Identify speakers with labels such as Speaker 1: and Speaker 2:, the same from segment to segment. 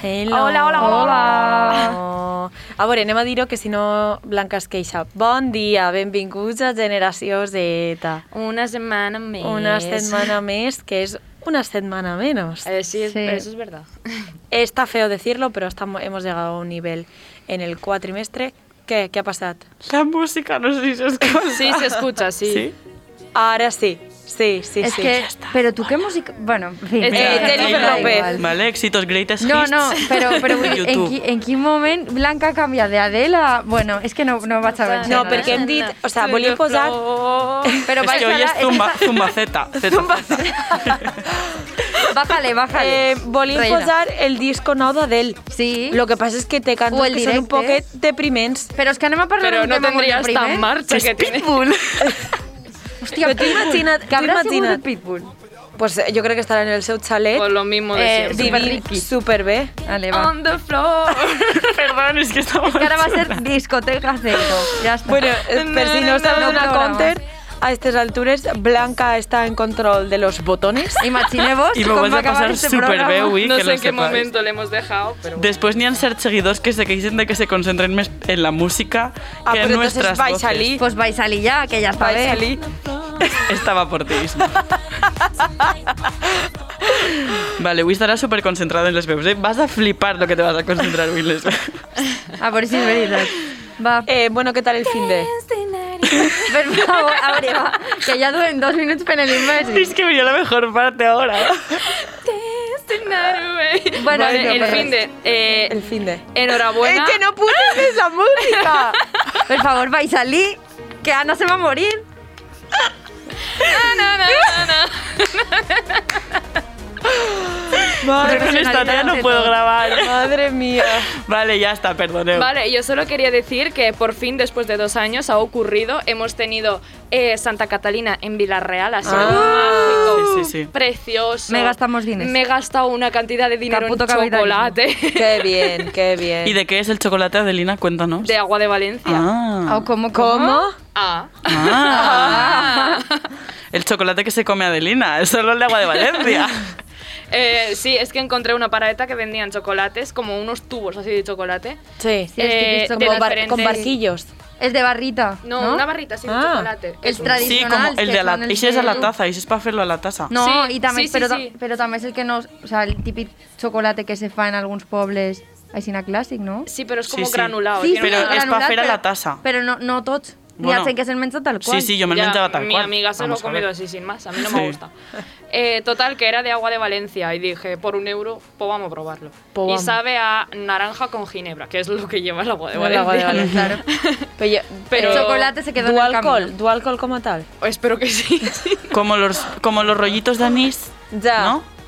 Speaker 1: Hello.
Speaker 2: Hola, hola, hola, hola.
Speaker 1: Oh. A veure, anem a dir-ho, que si no Blanca es queixa. Bon dia, benvinguts a Generació Z.
Speaker 2: Una semana més.
Speaker 1: Una setmana més, que és una setmana menos.
Speaker 2: Eh, sí, es-
Speaker 3: Sí.
Speaker 2: eso es verdad.
Speaker 1: Está feo decirlo, pero estamos, hemos llegado a un nivel en el cuatrimestre. ¿Qué, qué ha pasado?
Speaker 4: La música, no sé si se escucha.
Speaker 2: Sí, se escucha, sí.
Speaker 4: ¿Sí?
Speaker 1: Ahora sí, sí, sí,
Speaker 3: es
Speaker 1: sí.
Speaker 3: que, pero tú qué música... Bueno, en fin.
Speaker 2: Eh,
Speaker 3: me da
Speaker 1: Jennifer
Speaker 3: igual.
Speaker 1: López.
Speaker 4: Vale, éxitos, greatest
Speaker 3: No,
Speaker 4: hits
Speaker 3: no, pero, pero vull
Speaker 4: de
Speaker 3: dir, en,
Speaker 4: YouTube.
Speaker 3: qui, en quin moment Blanca canvia de Adela... Bueno, és que no, no vaig a veure.
Speaker 1: No, perquè hem dit, o sea, volia posar...
Speaker 3: Però
Speaker 4: es que hoy es Zumba, Zumba Z. Z, Z.
Speaker 3: Bájale, bájale.
Speaker 1: Eh, volia
Speaker 3: Reina.
Speaker 1: posar el disco nou d'Adel.
Speaker 3: Sí.
Speaker 1: Lo que passa és que té
Speaker 3: O
Speaker 1: cançons
Speaker 3: el
Speaker 1: que són un
Speaker 3: directe.
Speaker 1: poquet depriments.
Speaker 3: Però és que anem a parlar
Speaker 2: Pero
Speaker 3: d'un
Speaker 2: no
Speaker 3: tema molt
Speaker 2: tendrías
Speaker 3: depriment.
Speaker 2: tan marcha que tiene.
Speaker 3: Hòstia,
Speaker 1: Però t'ho imagina't,
Speaker 3: Que
Speaker 1: t'ho
Speaker 3: habrà sigut el
Speaker 1: imagina't.
Speaker 3: Pitbull.
Speaker 1: Pues eh, jo crec que estarà en el seu xalet.
Speaker 2: Con lo mismo de
Speaker 3: Eh,
Speaker 2: siempre.
Speaker 1: Vivint
Speaker 3: superriqui.
Speaker 1: superbé.
Speaker 3: Vale, va.
Speaker 2: On the floor.
Speaker 4: Perdón, es que estamos...
Speaker 3: Que ara va ser discoteca cero. Ja està.
Speaker 1: Bueno, eh, per si no estàs
Speaker 3: No
Speaker 1: en una
Speaker 3: programa.
Speaker 1: counter, a estas alturas Blanca está en control de los botones.
Speaker 3: Imagineu-vos
Speaker 4: I me
Speaker 3: com
Speaker 4: vas
Speaker 3: va
Speaker 4: a
Speaker 3: acabar
Speaker 4: pasar
Speaker 3: este
Speaker 4: súper
Speaker 3: programa.
Speaker 4: bé, avui,
Speaker 2: no
Speaker 4: que
Speaker 2: sé
Speaker 4: lo
Speaker 2: en qué
Speaker 4: sepáis.
Speaker 2: momento le hemos dejado, pero bueno.
Speaker 4: Después ni han ser seguidores que se queixen de que se concentren més en la
Speaker 1: Ah,
Speaker 4: música que
Speaker 1: pues
Speaker 4: en
Speaker 1: entonces
Speaker 4: nuestras
Speaker 1: vais
Speaker 4: voces.
Speaker 1: a salir.
Speaker 3: Pues vais a salir ja, que ja està
Speaker 1: Vais
Speaker 3: bé.
Speaker 1: a salir.
Speaker 4: Estava por ti, Isma. Vale, avui estaràs superconcentrada en les veus, eh? Vas a flipar lo que te vas a concentrar avui en les veus.
Speaker 3: A veure si és veritat. Va,
Speaker 1: Eh, bueno, ¿qué tal el fin de?
Speaker 4: Eh.
Speaker 3: per favor, a veure, va, que ja duren dos minuts per l'imbècil.
Speaker 4: es que venía la mejor parte ahora.
Speaker 3: Bueno,
Speaker 2: Este Vale,
Speaker 3: no,
Speaker 2: el
Speaker 3: pero-
Speaker 2: fin de... eh,
Speaker 1: El fin de.
Speaker 2: enhorabuena.
Speaker 1: ¡Es que no puse esa música!
Speaker 3: Per favor, vais a salir, que Anna se va a morir.
Speaker 4: Yo con esta tía no puedo grabar.
Speaker 1: Madre mía.
Speaker 4: Vale, ya está, perdoneo.
Speaker 2: Vale, yo solo quería decir que por fin, después de dos años, ha ocurrido. Hemos tenido eh, Santa Catalina en Villarreal, ha sido
Speaker 1: Ah.
Speaker 2: mágico,
Speaker 4: Sí, sí, sí.
Speaker 2: precioso.
Speaker 3: Me gastamos diners.
Speaker 2: Me he gastado una cantidad de dinero
Speaker 3: Caputo
Speaker 2: en chocolate
Speaker 1: Qué bien, qué bien.
Speaker 4: ¿Y de qué es el chocolate, Adelina? Cuéntanos.
Speaker 2: de agua de Valencia.
Speaker 3: O
Speaker 4: Ah.
Speaker 3: como,
Speaker 1: ¿Cómo?
Speaker 2: Ah.
Speaker 4: Ah. El chocolate que se come Adelina, es solo el de agua de Valencia.
Speaker 2: Eh, sí, es que encontré una paradeta que vendían chocolates, como unos tubos así de chocolate.
Speaker 1: Sí.
Speaker 3: Sí, es
Speaker 4: Eh,
Speaker 3: que es
Speaker 2: de
Speaker 3: como
Speaker 1: Con bar-
Speaker 2: diferentes-
Speaker 1: con barquillos.
Speaker 3: Es de barrita.
Speaker 2: No,
Speaker 3: ¿no?
Speaker 2: una barrita así
Speaker 1: Ah.
Speaker 2: de chocolate.
Speaker 3: El
Speaker 2: Es un-
Speaker 3: tradi-
Speaker 4: Sí,
Speaker 3: Tradicional,
Speaker 4: como el
Speaker 3: que
Speaker 4: de la...
Speaker 3: son el
Speaker 4: Ese es a la
Speaker 3: de-
Speaker 4: taza, ese es para hacerlo a la taza.
Speaker 3: No,
Speaker 2: Sí,
Speaker 3: i també,
Speaker 2: sí, sí,
Speaker 3: però, ta-
Speaker 2: sí.
Speaker 3: però també és el que no... O sea, el típic xocolate que se fa en alguns pobles així clàssic, no?
Speaker 2: Sí, pero es
Speaker 4: Sí,
Speaker 2: como
Speaker 4: sí.
Speaker 2: granulado.
Speaker 4: Sí,
Speaker 2: tiene
Speaker 4: pero
Speaker 2: una-
Speaker 4: es pa'
Speaker 3: granulat,
Speaker 4: fer a la
Speaker 3: però-
Speaker 4: tassa.
Speaker 3: Però no, no tots. Bueno. Hi
Speaker 4: Bueno.
Speaker 3: ha gent que se'l menja tal qual.
Speaker 4: Sí, sí, yo me lo
Speaker 2: Ya,
Speaker 4: menjaba tal
Speaker 2: mi
Speaker 4: cual.
Speaker 2: amiga se
Speaker 4: Vamos
Speaker 2: lo
Speaker 4: a
Speaker 2: ha comido
Speaker 4: ver.
Speaker 2: así sin más, a mí no
Speaker 4: Sí.
Speaker 2: me gusta. Eh, total, que era de agua de Valencia y dije, por un euro, pues vamos a probarlo.
Speaker 1: Pues
Speaker 2: y
Speaker 1: vamos.
Speaker 2: sabe a naranja con ginebra, que es lo que lleva el agua de
Speaker 1: No, la
Speaker 2: Valencia.
Speaker 1: agua de Valencia.
Speaker 3: Claro.
Speaker 1: Pero, yo-
Speaker 2: Pero-
Speaker 3: El chocolate se quedó
Speaker 1: ¿Du
Speaker 3: en el camino.
Speaker 1: alcohol? ¿Du alcohol como tal?
Speaker 2: Espero que sí.
Speaker 4: Como los, como los rollitos de anís,
Speaker 1: Ya.
Speaker 4: ¿no?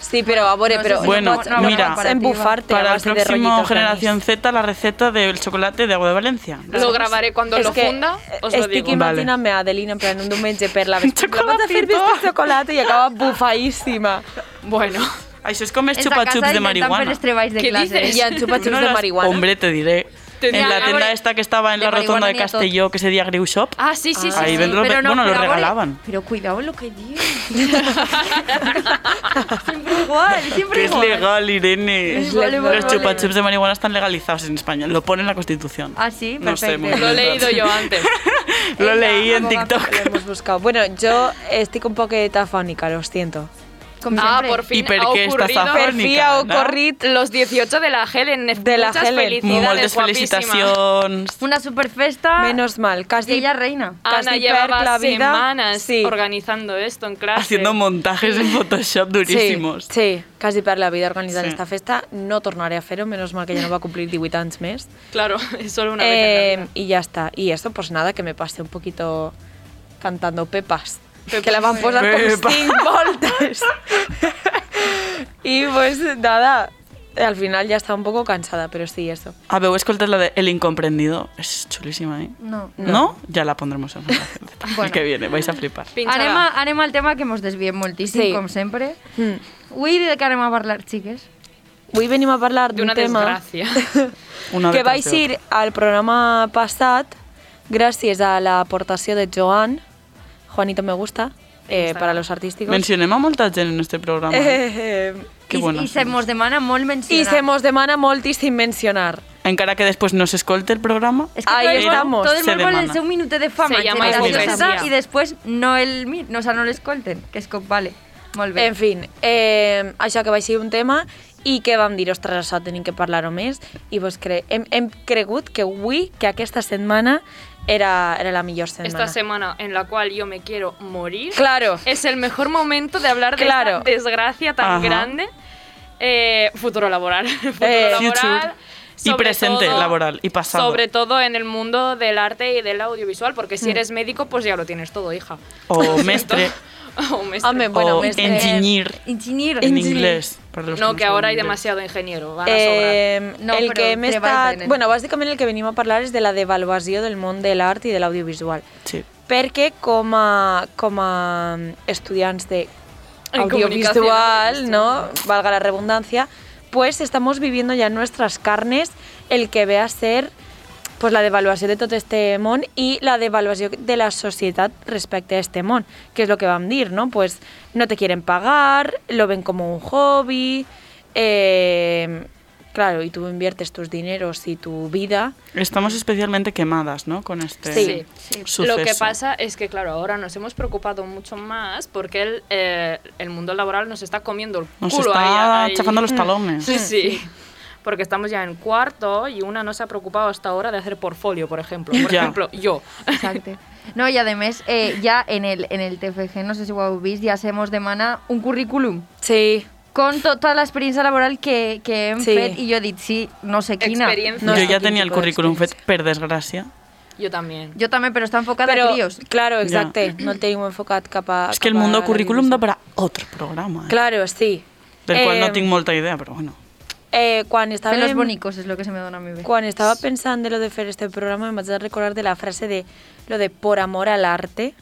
Speaker 1: Sí, pero, abore,
Speaker 3: No sé
Speaker 1: pero...
Speaker 3: si
Speaker 4: Bueno,
Speaker 1: pots-
Speaker 4: mira.
Speaker 1: pots embufarte a
Speaker 4: Para el
Speaker 1: base de
Speaker 4: próximo
Speaker 1: rollitos de anís.
Speaker 4: Generación Z, la receta del chocolate de agua de Valencia.
Speaker 2: lo grabaré Eh, cuando
Speaker 1: és
Speaker 2: lo
Speaker 1: que eh,
Speaker 2: funda, os lo
Speaker 1: estic
Speaker 2: digo.
Speaker 1: imaginant-me a Adelina en plan un diumenge per la vesprada.
Speaker 4: Chocolatito.
Speaker 1: Vaig a fer-me este xocolata i acaba bufadíssima.
Speaker 2: Bueno,
Speaker 4: Això és com els
Speaker 3: És a casa
Speaker 4: xupa-xups de
Speaker 3: intentant
Speaker 4: marihuana.
Speaker 3: fer els treballs de
Speaker 2: Què
Speaker 3: classe.
Speaker 2: dices?
Speaker 1: I en xupa-xups
Speaker 4: No
Speaker 1: de
Speaker 4: las-
Speaker 1: marihuana.
Speaker 4: Hombre, te diré.
Speaker 2: Tenía-
Speaker 4: en la
Speaker 2: Ah,
Speaker 4: tienda
Speaker 2: hombre,
Speaker 4: esta que estaba en
Speaker 3: de
Speaker 4: la rotonda
Speaker 3: marihuana
Speaker 4: de
Speaker 3: ni a todo.
Speaker 4: Castelló, que ese día Grill Shop.
Speaker 2: ah, sí, sí, sí.
Speaker 4: Ahí
Speaker 2: sí.
Speaker 4: vendrá- Pero bueno, lo
Speaker 3: pero ahora-
Speaker 4: regalaban.
Speaker 3: Pero cuidado lo que digo. siempre igual, siempre
Speaker 4: Que es
Speaker 3: igual.
Speaker 2: ¿eh?
Speaker 4: legal, Irene.
Speaker 3: Es legal,
Speaker 4: Los
Speaker 3: vale.
Speaker 4: chupachups de marihuana están legalizados en España. Lo pone en la Constitución.
Speaker 3: Ah, sí,
Speaker 4: No sé,
Speaker 3: perfecto.
Speaker 4: muy bien.
Speaker 2: Lo he leído yo antes.
Speaker 4: Lo
Speaker 3: Ella,
Speaker 4: leí en
Speaker 3: abogada.
Speaker 4: TikTok.
Speaker 1: Lo hemos buscado. Bueno, yo estoy un poquito afónica, lo siento.
Speaker 3: Como
Speaker 2: ah,
Speaker 3: siempre.
Speaker 2: por
Speaker 4: ¿Y
Speaker 2: fin
Speaker 4: por
Speaker 2: ha
Speaker 4: qué estás
Speaker 2: ocurrido.
Speaker 1: Per fi ha
Speaker 4: afónica?
Speaker 1: ocorrit
Speaker 2: Los 18 de la Helen.
Speaker 1: De la
Speaker 2: Muchas
Speaker 1: Helen.
Speaker 2: felicidades,
Speaker 4: Moltes
Speaker 2: guapísima.
Speaker 4: felicitacions.
Speaker 3: Una superfesta
Speaker 1: Menos mal,
Speaker 3: y
Speaker 1: casi
Speaker 3: ella reina.
Speaker 2: Ana
Speaker 1: Casi
Speaker 2: llevaba
Speaker 1: per la vida.
Speaker 2: semanas
Speaker 1: Sí.
Speaker 2: organizando esto en clase.
Speaker 4: Haciendo montajes en Photoshop durísimos.
Speaker 1: Sí, sí, casi per la vida organitzant
Speaker 4: Sí.
Speaker 1: esta festa. No tornaré a fer-ho, menos mal que ja no va cumplir 18 anys més.
Speaker 2: Claro, es solo una vez. en la
Speaker 1: Eh,
Speaker 2: vida.
Speaker 1: y ya está. Y esto, pues nada, que me pasé un poquito cantando pepas. Que la van a posar
Speaker 4: Pepa.
Speaker 1: como cinc voltes. y pues nada, al final ya estaba un poco cansada, pero sí, eso.
Speaker 4: Ah, A ver, escoltas la de El Incomprendido. Es chulísima, ¿eh?
Speaker 3: No.
Speaker 4: ¿No? Ya la pondremos en la El que viene, vais a flipar.
Speaker 2: Pinchada.
Speaker 3: Anem, a- anem al tema que mos desviem moltíssim,
Speaker 1: Sí.
Speaker 3: com sempre.
Speaker 1: Mm.
Speaker 3: Avui de què anem a parlar, xiques?
Speaker 1: Hoy venimos a hablar
Speaker 2: de
Speaker 1: de un
Speaker 2: una
Speaker 1: tema
Speaker 2: desgracia.
Speaker 4: Una
Speaker 1: que
Speaker 4: detrás
Speaker 1: vais
Speaker 4: de
Speaker 1: a ir al programa passat gràcies a l'aportació de Joan, Juanito me gusta, eh, para los
Speaker 4: otra.
Speaker 1: artísticos.
Speaker 4: Mencionemos a molta gent en este programa.
Speaker 1: Eh,
Speaker 4: Que
Speaker 3: I,
Speaker 4: bona.
Speaker 3: I se mos demana molt mencionar.
Speaker 1: I se mos demana moltíssim mencionar.
Speaker 4: Encara que després no s'escolta el programa,
Speaker 3: Es que
Speaker 1: Ahí
Speaker 3: todo el mundo-
Speaker 1: estamos.
Speaker 3: Todo el
Speaker 4: Se
Speaker 3: mundo vol el
Speaker 4: demana.
Speaker 3: seu minuto de
Speaker 2: Se
Speaker 3: fama en
Speaker 2: llama
Speaker 3: generació
Speaker 2: hipocresía.
Speaker 3: Z, i després no el mi- no, o sea, no l'escolten, que és com, vale, molt bé.
Speaker 1: En fin, eh, això que va ser un tema i que vam dir, ostres, això tenim que parlar-ho més i vos cre hem, hem cregut que avui, que aquesta setmana era, era la millor setmana.
Speaker 2: Esta semana en la cual yo me quiero morir.
Speaker 1: Claro.
Speaker 2: Es el mejor momento de hablar de
Speaker 1: Claro.
Speaker 2: esta desgracia tan
Speaker 4: Ajá.
Speaker 2: grande. Eh, futuro laboral. futuro
Speaker 1: Eh,
Speaker 4: Future.
Speaker 2: laboral.
Speaker 4: Y
Speaker 2: sobre
Speaker 4: presente
Speaker 2: todo-
Speaker 4: laboral, y pasado.
Speaker 2: Sobre todo en el mundo del arte y del audiovisual, porque
Speaker 4: Mm.
Speaker 2: si eres médico, pues ya lo tienes todo, hija.
Speaker 4: o
Speaker 2: Lo
Speaker 4: mestre,
Speaker 2: siento. o mestre.
Speaker 1: Home, bueno,
Speaker 4: o
Speaker 1: més eh, de-
Speaker 4: engineer,
Speaker 3: Eh, Enginyir.
Speaker 4: en inglés. para los
Speaker 2: no,
Speaker 4: no
Speaker 2: que ahora hay
Speaker 4: saben inglés.
Speaker 2: demasiado ingeniero. Van a sobrar.
Speaker 1: Eh,
Speaker 3: No,
Speaker 1: el
Speaker 3: però
Speaker 1: que hem
Speaker 3: treball
Speaker 1: estat...
Speaker 3: tenen.
Speaker 1: Bueno, bàsicament el que venim a parlar és de la devaluació del món de l'art i de l'audiovisual.
Speaker 4: Sí.
Speaker 1: perquè com a, com a estudiants de
Speaker 2: En
Speaker 1: audiovisual,
Speaker 2: comunicación,
Speaker 1: ¿no? Valga la redundancia, pues estamos viviendo ya en nuestras carnes el que ve a ser pues la devaluació de tot este món i la devaluació de la societat respecte a este món, que és el que vam dir, no? Pues no te quieren pagar, lo ven como un hobby, eh, claro, y tú inviertes tus dineros y tu vida.
Speaker 4: Estamos especialmente quemadas, ¿no? Con este
Speaker 1: Sí.
Speaker 4: suceso.
Speaker 2: Lo que pasa es que, claro, ahora nos hemos preocupado mucho más porque el, eh, el mundo laboral nos está comiendo el
Speaker 4: Nos
Speaker 2: culo
Speaker 4: está
Speaker 2: ahí- ahí.
Speaker 4: chafando los talones.
Speaker 2: Mm. Sí, sí. Porque estamos ya en cuarto y una no se ha preocupado hasta ahora de hacer portfolio, por ejemplo. Por
Speaker 4: Ya.
Speaker 2: ejemplo, yo.
Speaker 3: Exacte. No, i a més, eh, ja en el, en el TFG, no sé si ho heu vist, ja se mos demana un currículum
Speaker 1: Sí,
Speaker 3: con tota l'experiència laboral que, que hem
Speaker 1: Sí.
Speaker 3: fet i jo he dit, sí, no sé quina.
Speaker 2: Experiencia.
Speaker 1: No
Speaker 4: Yo
Speaker 1: sé
Speaker 4: ya
Speaker 1: quin
Speaker 4: tenía el
Speaker 1: tipus
Speaker 4: currículum fet,
Speaker 1: d'experiència.
Speaker 4: per desgràcia.
Speaker 2: Yo también.
Speaker 3: Jo també, però està enfocada
Speaker 1: Però,
Speaker 3: a crios.
Speaker 1: Claro,
Speaker 4: Ja.
Speaker 1: exacte. No el tenim enfocat cap a...
Speaker 2: Ah,
Speaker 4: És que el
Speaker 1: cap a
Speaker 4: mundo
Speaker 1: la
Speaker 4: currículum da
Speaker 1: divisió.
Speaker 4: para otro programa, eh?
Speaker 1: Claro, sí.
Speaker 4: del qual
Speaker 1: Eh,
Speaker 4: no tinc molta idea, però bueno.
Speaker 1: Eh, quan,
Speaker 3: Pelos
Speaker 1: estàvem,
Speaker 3: bonicos és lo que se me dona a mi bé.
Speaker 1: quan estava pensant de lo de fer este programa em vaig a recordar de la frase de lo de por amor al arte.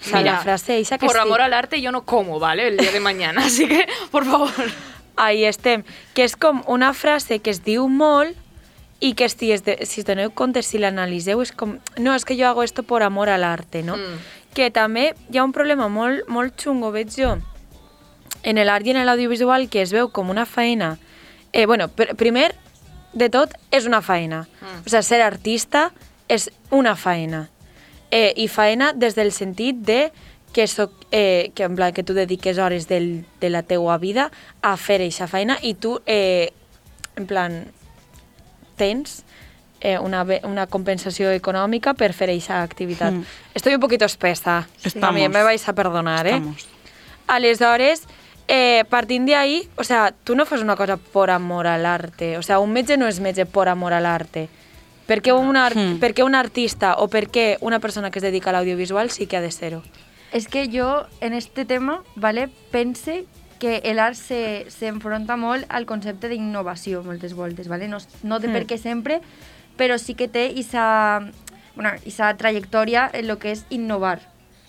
Speaker 1: O sea,
Speaker 2: Mira,
Speaker 1: la frase esa que
Speaker 2: Por
Speaker 1: sí.
Speaker 2: amor al arte yo no como, ¿vale? El día de mañana, así que, por favor.
Speaker 1: Ahí estem. Que és com una frase que es diu molt i que si, es de, si us doneu compte, si l'analiseu, és com... No, és que jo hago esto por amor al arte, no?
Speaker 2: Mm.
Speaker 1: Que també hi ha un problema molt, molt xungo, veig jo, en l'art i en l'audiovisual que es veu com una feina... Eh, bueno, pr primer de tot, és una feina.
Speaker 2: Mm.
Speaker 1: O sigui, ser artista és una feina. Eh, I feina des del sentit de que, soc, eh, que, en plan, que tu dediques hores del, de la teua vida a fer eixa feina i tu, eh, en plan, tens eh, una, be- una compensació econòmica per fer eixa activitat.
Speaker 4: Mm.
Speaker 1: Mm. Estoy un poquito espesa.
Speaker 4: Estamos.
Speaker 1: También me vais a perdonar, eh?
Speaker 4: Estamos.
Speaker 1: Aleshores, eh, partint d'ahí, o sea, tu no fas una cosa por amor al arte. O sea, un metge no és metge por amor al arte. Per què un, art,
Speaker 4: Mm.
Speaker 1: per què un artista o per què una persona que es dedica a l'audiovisual sí que ha de ser-ho?
Speaker 3: Es que yo en este tema, ¿vale? Pense que el art se, se enfronta molt al concepte d'innovació moltes voltes, ¿vale? No, no de
Speaker 1: Mm.
Speaker 3: per què sempre, però sí que té esa, bueno, esa trajectòria en lo que és innovar,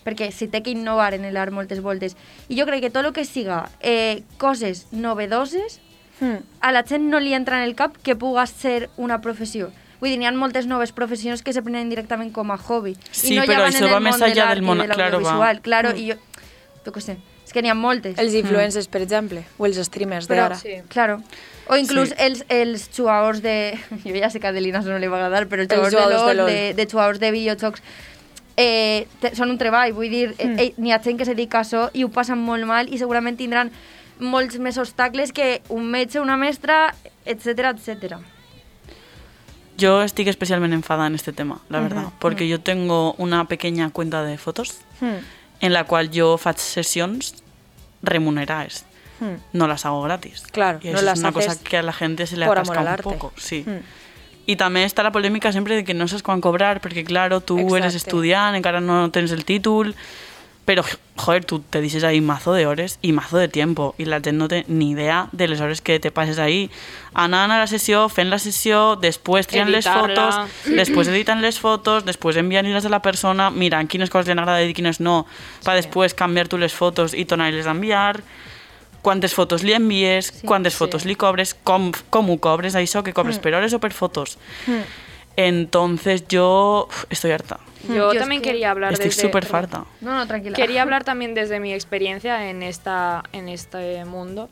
Speaker 3: perquè se té que innovar en el art moltes voltes. I jo crec que tot lo que siga eh, coses novedoses,
Speaker 1: Mm.
Speaker 3: a la gent no li entra en el cap que puga ser una professió. Vull dir, n'hi ha moltes noves professions que se prenen directament com a hobby.
Speaker 4: Sí,
Speaker 3: I no
Speaker 4: però
Speaker 3: ja van
Speaker 4: això
Speaker 3: en
Speaker 4: va
Speaker 3: el
Speaker 4: més
Speaker 3: món de
Speaker 4: enllà
Speaker 3: l'art
Speaker 4: del
Speaker 3: i
Speaker 4: món,
Speaker 3: de
Speaker 4: claro, va. Mm.
Speaker 3: l'audiovisual, Claro, i jo... Jo què sé, és que n'hi ha moltes.
Speaker 1: Els influencers, per exemple, o els streamers
Speaker 3: però,
Speaker 1: d'ara.
Speaker 2: Sí.
Speaker 3: claro. O inclús
Speaker 4: Sí.
Speaker 3: els, els jugadors de... Jo ja sé que a Adelina no li va agradar, però els
Speaker 1: Els
Speaker 3: jugadors,
Speaker 1: jugadors de
Speaker 3: de, LOL,
Speaker 1: LOL.
Speaker 3: de, de jugadors de videojocs, eh, te, són un treball, vull dir, mm. eh, n'hi ha gent que se dedica a això i ho passen molt mal i segurament tindran molts més obstacles que un metge, una mestra, etc etc.
Speaker 4: Yo estoy especialmente enfadada en este tema, la verdad, porque yo tengo una pequeña cuenta de fotos
Speaker 1: Mm.
Speaker 4: en la cual yo faig sessions remuneradas.
Speaker 1: Mm.
Speaker 4: No las hago gratis.
Speaker 1: Claro,
Speaker 4: y
Speaker 1: no
Speaker 4: eso es
Speaker 1: las
Speaker 4: una cosa
Speaker 1: haces
Speaker 4: que a la gente se le
Speaker 1: por amor
Speaker 4: atasca
Speaker 1: al
Speaker 4: un
Speaker 1: arte.
Speaker 4: poco, sí.
Speaker 1: Mm.
Speaker 4: Y también está la polémica siempre de que no sabes cuándo cobrar, porque claro, tú eres
Speaker 1: Exacte.
Speaker 4: estudiante, encara no tienes el título, pero joder, tú te dices ahí mazo de horas y mazo de tiempo, y la gente no tiene ni idea de las horas que te pases ahí. Anant a la sessió, fent la sessió, després trien les
Speaker 2: Editar-la.
Speaker 4: fotos, després editen les fotos, després enviant-les a la persona, mirant quines coses li han agradat i quines no, per després canviar tu les fotos i tornar-les a enviar, quantes fotos li envies, quantes fotos li cobres, com, com ho cobres, això, que
Speaker 2: Mm.
Speaker 4: cobres per hores o per fotos. Entonces yo uf, estoy harta.
Speaker 2: Yo,
Speaker 3: Yo es
Speaker 2: también
Speaker 3: que-
Speaker 2: quería hablar
Speaker 4: Estoy
Speaker 2: desde-
Speaker 4: súper
Speaker 2: perdón.
Speaker 4: farta.
Speaker 3: No, no, tranquila.
Speaker 2: Quería hablar también desde mi experiencia en, esta, en este mundo.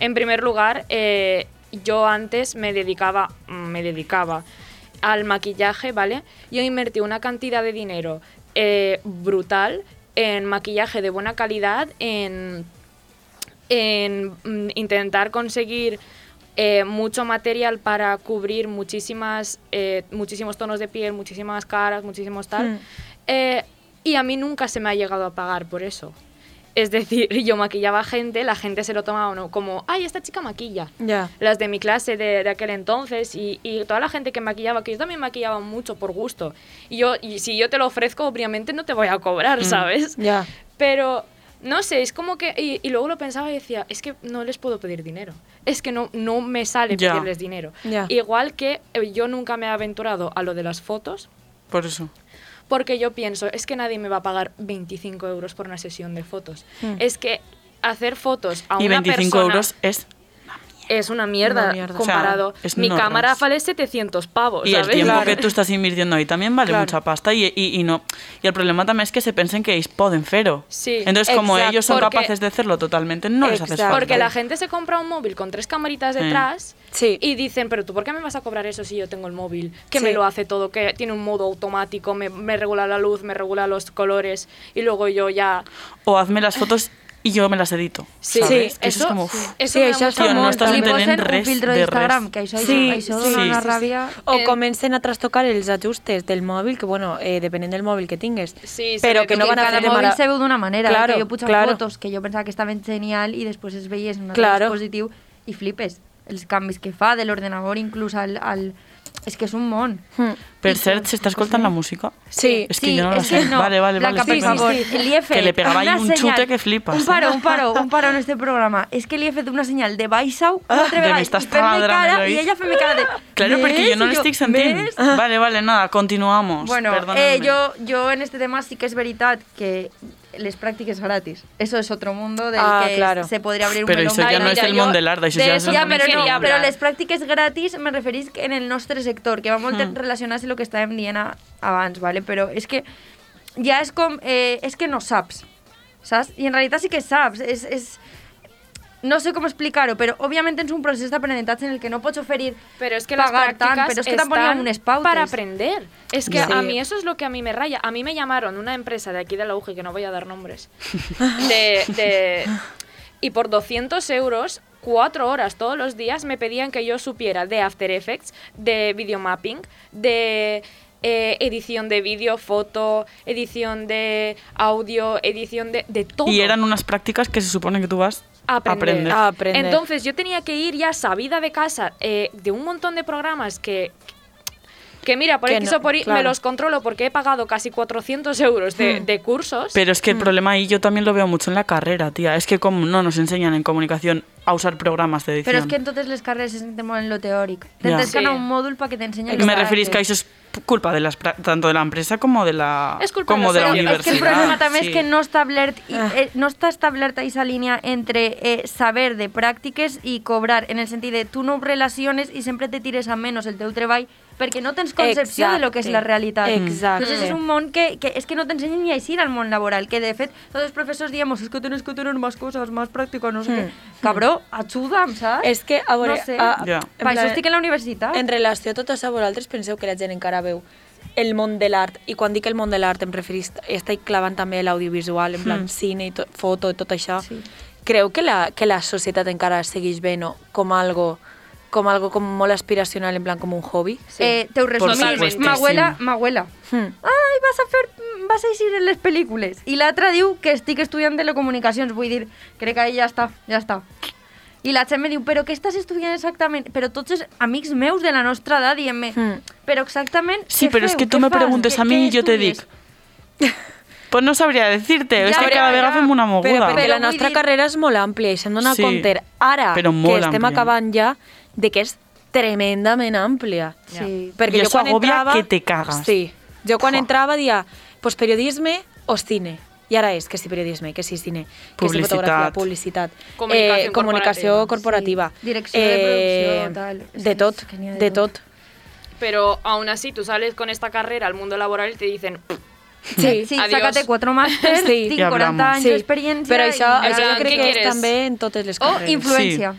Speaker 2: En primer lugar, eh, yo antes me dedicaba, mm, me dedicaba al maquillaje, ¿vale? Yo invertí una cantidad de dinero eh, brutal en maquillaje de buena calidad, en, en mm, intentar conseguir eh, mucho material para cubrir muchísimas, eh, muchísimos tonos de piel, muchísimas caras, muchísimos tal.
Speaker 1: Mm.
Speaker 2: Eh, y a mí nunca se me ha llegado a pagar por eso. Es decir, yo maquillaba a gente, la gente se lo tomaba ¿no? como, ay, esta chica maquilla
Speaker 1: Ya.
Speaker 2: las de mi clase de, de aquel entonces y, y toda la gente que maquillaba, que yo también maquillaba mucho por gusto. Y yo, y si yo te lo ofrezco, obviamente no te voy a cobrar, ¿sabes?
Speaker 1: Mm. Ya.
Speaker 2: Pero no sé, es como que. Y, y luego lo pensaba y decía, es que no les puedo pedir dinero. Es que no, no me sale
Speaker 4: Ya.
Speaker 2: pedirles dinero.
Speaker 1: Ya.
Speaker 2: Igual que eh, yo nunca me he aventurado a lo de las fotos.
Speaker 4: Por eso.
Speaker 2: Porque yo pienso, es que nadie me va a pagar 25 euros por una sesión de fotos.
Speaker 1: Mm.
Speaker 2: Es que hacer fotos a
Speaker 4: Hmm. y
Speaker 2: una
Speaker 4: 25
Speaker 2: persona
Speaker 4: euros es.
Speaker 2: es una mierda,
Speaker 1: Una mierda.
Speaker 2: comparado.
Speaker 4: O sea, es
Speaker 2: Mi
Speaker 4: normas.
Speaker 2: cámara vale 700 pavos,
Speaker 4: Y el
Speaker 2: ¿sabes?
Speaker 4: tiempo
Speaker 1: Claro.
Speaker 4: que tú estás invirtiendo ahí también vale
Speaker 1: Claro.
Speaker 4: mucha pasta y, y, y no. Y el problema también es que se pensen que ells poden fer-ho.
Speaker 2: Sí.
Speaker 4: Entonces, como
Speaker 1: Exacto,
Speaker 4: ellos son
Speaker 2: porque-
Speaker 4: capaces de hacerlo totalmente, no les haces
Speaker 1: Exacto.
Speaker 4: falta.
Speaker 2: Porque la gente se compra un móvil con tres camaritas
Speaker 4: Sí.
Speaker 2: detrás
Speaker 1: Sí.
Speaker 2: y dicen, pero tú, ¿por qué me vas a cobrar eso si yo tengo el móvil? Que
Speaker 1: Sí.
Speaker 2: me lo hace todo, que tiene un modo automático, me, me regula la luz, me regula los colores y luego yo ya...
Speaker 4: O hazme las fotos y yo me las edito.
Speaker 2: Sí,
Speaker 4: ¿sabes?
Speaker 2: sí,
Speaker 4: Que eso, es
Speaker 2: eso-
Speaker 4: como.
Speaker 2: sí.
Speaker 4: uf.
Speaker 2: Eso
Speaker 1: Sí,
Speaker 2: me
Speaker 1: això
Speaker 2: da
Speaker 1: és
Speaker 2: mucha
Speaker 1: com
Speaker 4: Tio, no
Speaker 1: molt...
Speaker 4: estàs
Speaker 1: Sí,
Speaker 3: Li
Speaker 4: Estan entenent
Speaker 3: posen un
Speaker 4: res
Speaker 3: filtro
Speaker 4: de
Speaker 3: d'Instagram,
Speaker 4: res.
Speaker 3: que això,
Speaker 1: Sí,
Speaker 3: això, això
Speaker 1: sí,
Speaker 3: dona una
Speaker 4: sí, sí.
Speaker 3: ràbia...
Speaker 1: O
Speaker 2: Eh,
Speaker 1: comencen a trastocar els ajustes del mòbil, que bueno, eh, depenent del mòbil que tingues.
Speaker 2: Sí, se
Speaker 1: però
Speaker 2: ve
Speaker 1: que
Speaker 2: com
Speaker 1: no
Speaker 2: que
Speaker 1: van a
Speaker 3: cada
Speaker 1: hacer de
Speaker 3: móvil
Speaker 1: mala-
Speaker 3: se ve de una manera.
Speaker 1: Claro,
Speaker 3: que yo puse
Speaker 1: claro.
Speaker 3: fotos que yo pensaba que estaban genial y después es veías en un
Speaker 1: Claro.
Speaker 3: dispositivo y flipes. Els canvis que fa del ordenador inclús al... al... És que és un món.
Speaker 1: Hmm.
Speaker 4: Per cert, si está escoltando la música.
Speaker 1: Sí,
Speaker 4: Es que yo no la
Speaker 3: és que
Speaker 4: sé. Vale, vale,
Speaker 3: Blanca,
Speaker 4: vale.
Speaker 1: sí,
Speaker 4: está
Speaker 3: per favor,
Speaker 4: claro.
Speaker 1: sí, sí.
Speaker 3: li he fet
Speaker 4: Que le pegaba ahí
Speaker 3: una
Speaker 4: un
Speaker 3: señal.
Speaker 4: chute que flipas,
Speaker 3: Un
Speaker 4: eh.
Speaker 3: paro, un paro, un paro en este programa. Es que li he fet una señal de baixau una altra
Speaker 4: Ah, de
Speaker 3: vegada,
Speaker 4: m'estàs
Speaker 3: i fer-me
Speaker 4: taladrant
Speaker 3: cara,
Speaker 4: l'oït.
Speaker 3: i ella fent-me cara de...
Speaker 4: Claro, porque
Speaker 3: "Ves?"
Speaker 4: yo no
Speaker 3: I
Speaker 4: le estoy
Speaker 3: "Ves?"
Speaker 4: sentint. Vale, vale, nada, continuamos.
Speaker 3: Bueno,
Speaker 4: Perdónenme.
Speaker 3: eh, yo, yo en este tema sí que es verdad que les prácticas gratis. Eso es otro mundo del
Speaker 1: Ah,
Speaker 3: que
Speaker 1: claro.
Speaker 3: se podría abrir un
Speaker 4: Pero
Speaker 3: melón.
Speaker 4: eso ya
Speaker 2: Ay,
Speaker 4: no es
Speaker 2: mira,
Speaker 4: el
Speaker 2: yo
Speaker 4: món de l'art, això
Speaker 2: de
Speaker 4: ja és
Speaker 2: eso
Speaker 4: el
Speaker 3: Ya,
Speaker 2: no me
Speaker 3: pero
Speaker 2: quería
Speaker 3: no,
Speaker 2: hablar.
Speaker 3: pero les prácticas gratis me referís que en el nostre sector, que va
Speaker 4: Hmm.
Speaker 3: molt mm. relacionat amb el que estàvem dient a- abans, ¿vale? Però és que ja és com... Eh, és que no saps, saps? I en realitat sí que saps, és... és no sé com explicar-ho, però òbviament tens un procés d'aprenentatge en el que no pots oferir
Speaker 2: Pero es que las
Speaker 3: pagar
Speaker 2: prácticas
Speaker 3: tant, però és que tampoc hi ha
Speaker 2: están
Speaker 3: unes pautes.
Speaker 2: para aprender. Es que
Speaker 1: Ya.
Speaker 2: a
Speaker 1: Sí.
Speaker 2: mí eso es lo que a mí me raya. A mí me llamaron una empresa de aquí de la UGI, que no voy a dar nombres, de, de- y por 200 euros, cuatro horas todos los días, me pedían que yo supiera de After Effects, de videomapping, de eh, edición de vídeo, foto, edición de audio, edición de, de todo.
Speaker 4: Y eran unas prácticas que se supone que tú vas
Speaker 2: A
Speaker 4: a
Speaker 2: aprender. Ah,
Speaker 4: aprender.
Speaker 1: A aprender.
Speaker 2: Entonces yo tenía que ir ya sabida de casa eh, de un montón de programas que... Que mira, por
Speaker 1: Que
Speaker 2: X
Speaker 1: no,
Speaker 2: o por Y
Speaker 1: claro. Hmm.
Speaker 2: me los controlo porque he pagado casi 400 euros de, de cursos.
Speaker 4: Pero es que el problema ahí yo también lo veo mucho en la carrera, tía. Es que como no nos enseñan en comunicación a usar programas de edición.
Speaker 3: Però és que en totes les carreres es molt en lo teòric.
Speaker 4: Ja.
Speaker 3: Tens que anar a un
Speaker 2: Sí.
Speaker 3: mòdul perquè t'ensenyen...
Speaker 4: Me
Speaker 3: lo
Speaker 4: referís que
Speaker 3: pràctic.
Speaker 4: eso es p- culpa de las pra- tanto de la empresa como de la
Speaker 2: Es culpa
Speaker 4: como
Speaker 2: de
Speaker 4: de
Speaker 2: los
Speaker 4: la
Speaker 2: socios.
Speaker 4: universidad.
Speaker 3: Es que el problema també
Speaker 4: Sí.
Speaker 3: és que no establert i,
Speaker 1: Ah.
Speaker 3: eh, no està establerta aquesta línia entre eh, saber de pràctiques i cobrar, en el sentit de tu no ho relaciones i sempre te tires a menys el teu treball perquè no tens concepció de lo que és la
Speaker 1: Exacte.
Speaker 3: realitat.
Speaker 1: Exacte.
Speaker 3: Entonces és un món que, que és que no t'ensenyen ni a eixir al món laboral, que de fet tots els professors diem és que tens que tenir més coses, més pràctica, no sé
Speaker 1: Mm.
Speaker 3: mm. què. Cabró, ajuda'm, saps?
Speaker 1: És que, a veure...
Speaker 3: No sé.
Speaker 1: a-
Speaker 4: Ja.
Speaker 1: en
Speaker 3: Per això
Speaker 1: plan-
Speaker 3: estic a la universitat.
Speaker 1: En relació a tot això, vosaltres penseu que la gent encara veu el món de l'art, i quan dic el món de l'art em referís, estic clavant també l'audiovisual, en plan cine i to, foto i tot això.
Speaker 3: Hmm. Sí.
Speaker 1: Creu que la, que la societat encara segueix veient no? com algo com algo com molt aspiracional, en plan com un hobby?
Speaker 3: Eh, te ho resumís.
Speaker 4: supuestíssim.
Speaker 3: M'abuela, m'abuela.
Speaker 1: Hmm.
Speaker 3: Ai, vas a fer... Vas a eixir en les pel·lícules. I l'altra diu que estic estudiant telecomunicacions. Vull dir, crec que ahí ja està, ja està. I la gent me diu, però què estàs estudiant exactament? Però tots els amics meus de la nostra edat dient-me,
Speaker 1: Mm.
Speaker 3: però exactament...
Speaker 4: Hmm. Sí,
Speaker 3: què
Speaker 4: pero es
Speaker 3: feu?
Speaker 4: que tú
Speaker 3: Què
Speaker 4: me
Speaker 3: fas?
Speaker 4: preguntes
Speaker 3: Què-
Speaker 4: a mí
Speaker 3: què
Speaker 4: y yo te digo.
Speaker 3: estudies?
Speaker 4: Pues no sabría decirte,
Speaker 3: Ya,
Speaker 4: es que
Speaker 3: pero-
Speaker 4: cada vez
Speaker 3: ya.
Speaker 4: hacemos una
Speaker 1: Però
Speaker 4: moguda.
Speaker 1: perquè
Speaker 3: Però
Speaker 1: la
Speaker 3: vull
Speaker 1: nostra
Speaker 3: dir-
Speaker 1: carrera és molt àmplia i se'n dona
Speaker 4: Sí,
Speaker 1: sí, compte ara que
Speaker 4: però
Speaker 1: estem
Speaker 4: molt àmplia.
Speaker 1: acabant ja de que és tremendament àmplia.
Speaker 3: Sí.
Speaker 1: Perquè
Speaker 4: I
Speaker 1: jo
Speaker 4: això
Speaker 1: quan
Speaker 4: agobia
Speaker 1: entrava...
Speaker 4: que te cagas.
Speaker 1: Sí. Jo quan
Speaker 4: Fua.
Speaker 1: entrava dia, pues periodisme o cine. I ara és que si periodisme, que si cine, que si
Speaker 4: Publicitat.
Speaker 1: fotografia, publicitat, Eh,
Speaker 2: Comunicació
Speaker 1: comunicació corporativa,
Speaker 3: corporativa.
Speaker 1: Eh,
Speaker 3: Sí. Direcció de producció, tal. És que
Speaker 1: de
Speaker 3: és
Speaker 1: tot,
Speaker 3: que n'hi ha de
Speaker 1: de
Speaker 3: tot.
Speaker 1: tot.
Speaker 2: Pero aún así tú sales con esta carrera al mundo laboral y te dicen,
Speaker 1: Sí,
Speaker 3: sí,
Speaker 2: Adiós.
Speaker 3: sacate quatre màsters,
Speaker 1: Sí.
Speaker 3: tinc
Speaker 4: Ja
Speaker 3: 40
Speaker 4: hablamos.
Speaker 3: anys
Speaker 1: Sí.
Speaker 3: d'experiència...
Speaker 1: Però això,
Speaker 3: i
Speaker 1: això jo
Speaker 2: Què
Speaker 1: crec que és
Speaker 2: quieres?
Speaker 1: també en totes les
Speaker 3: O
Speaker 1: carreres.
Speaker 3: influència.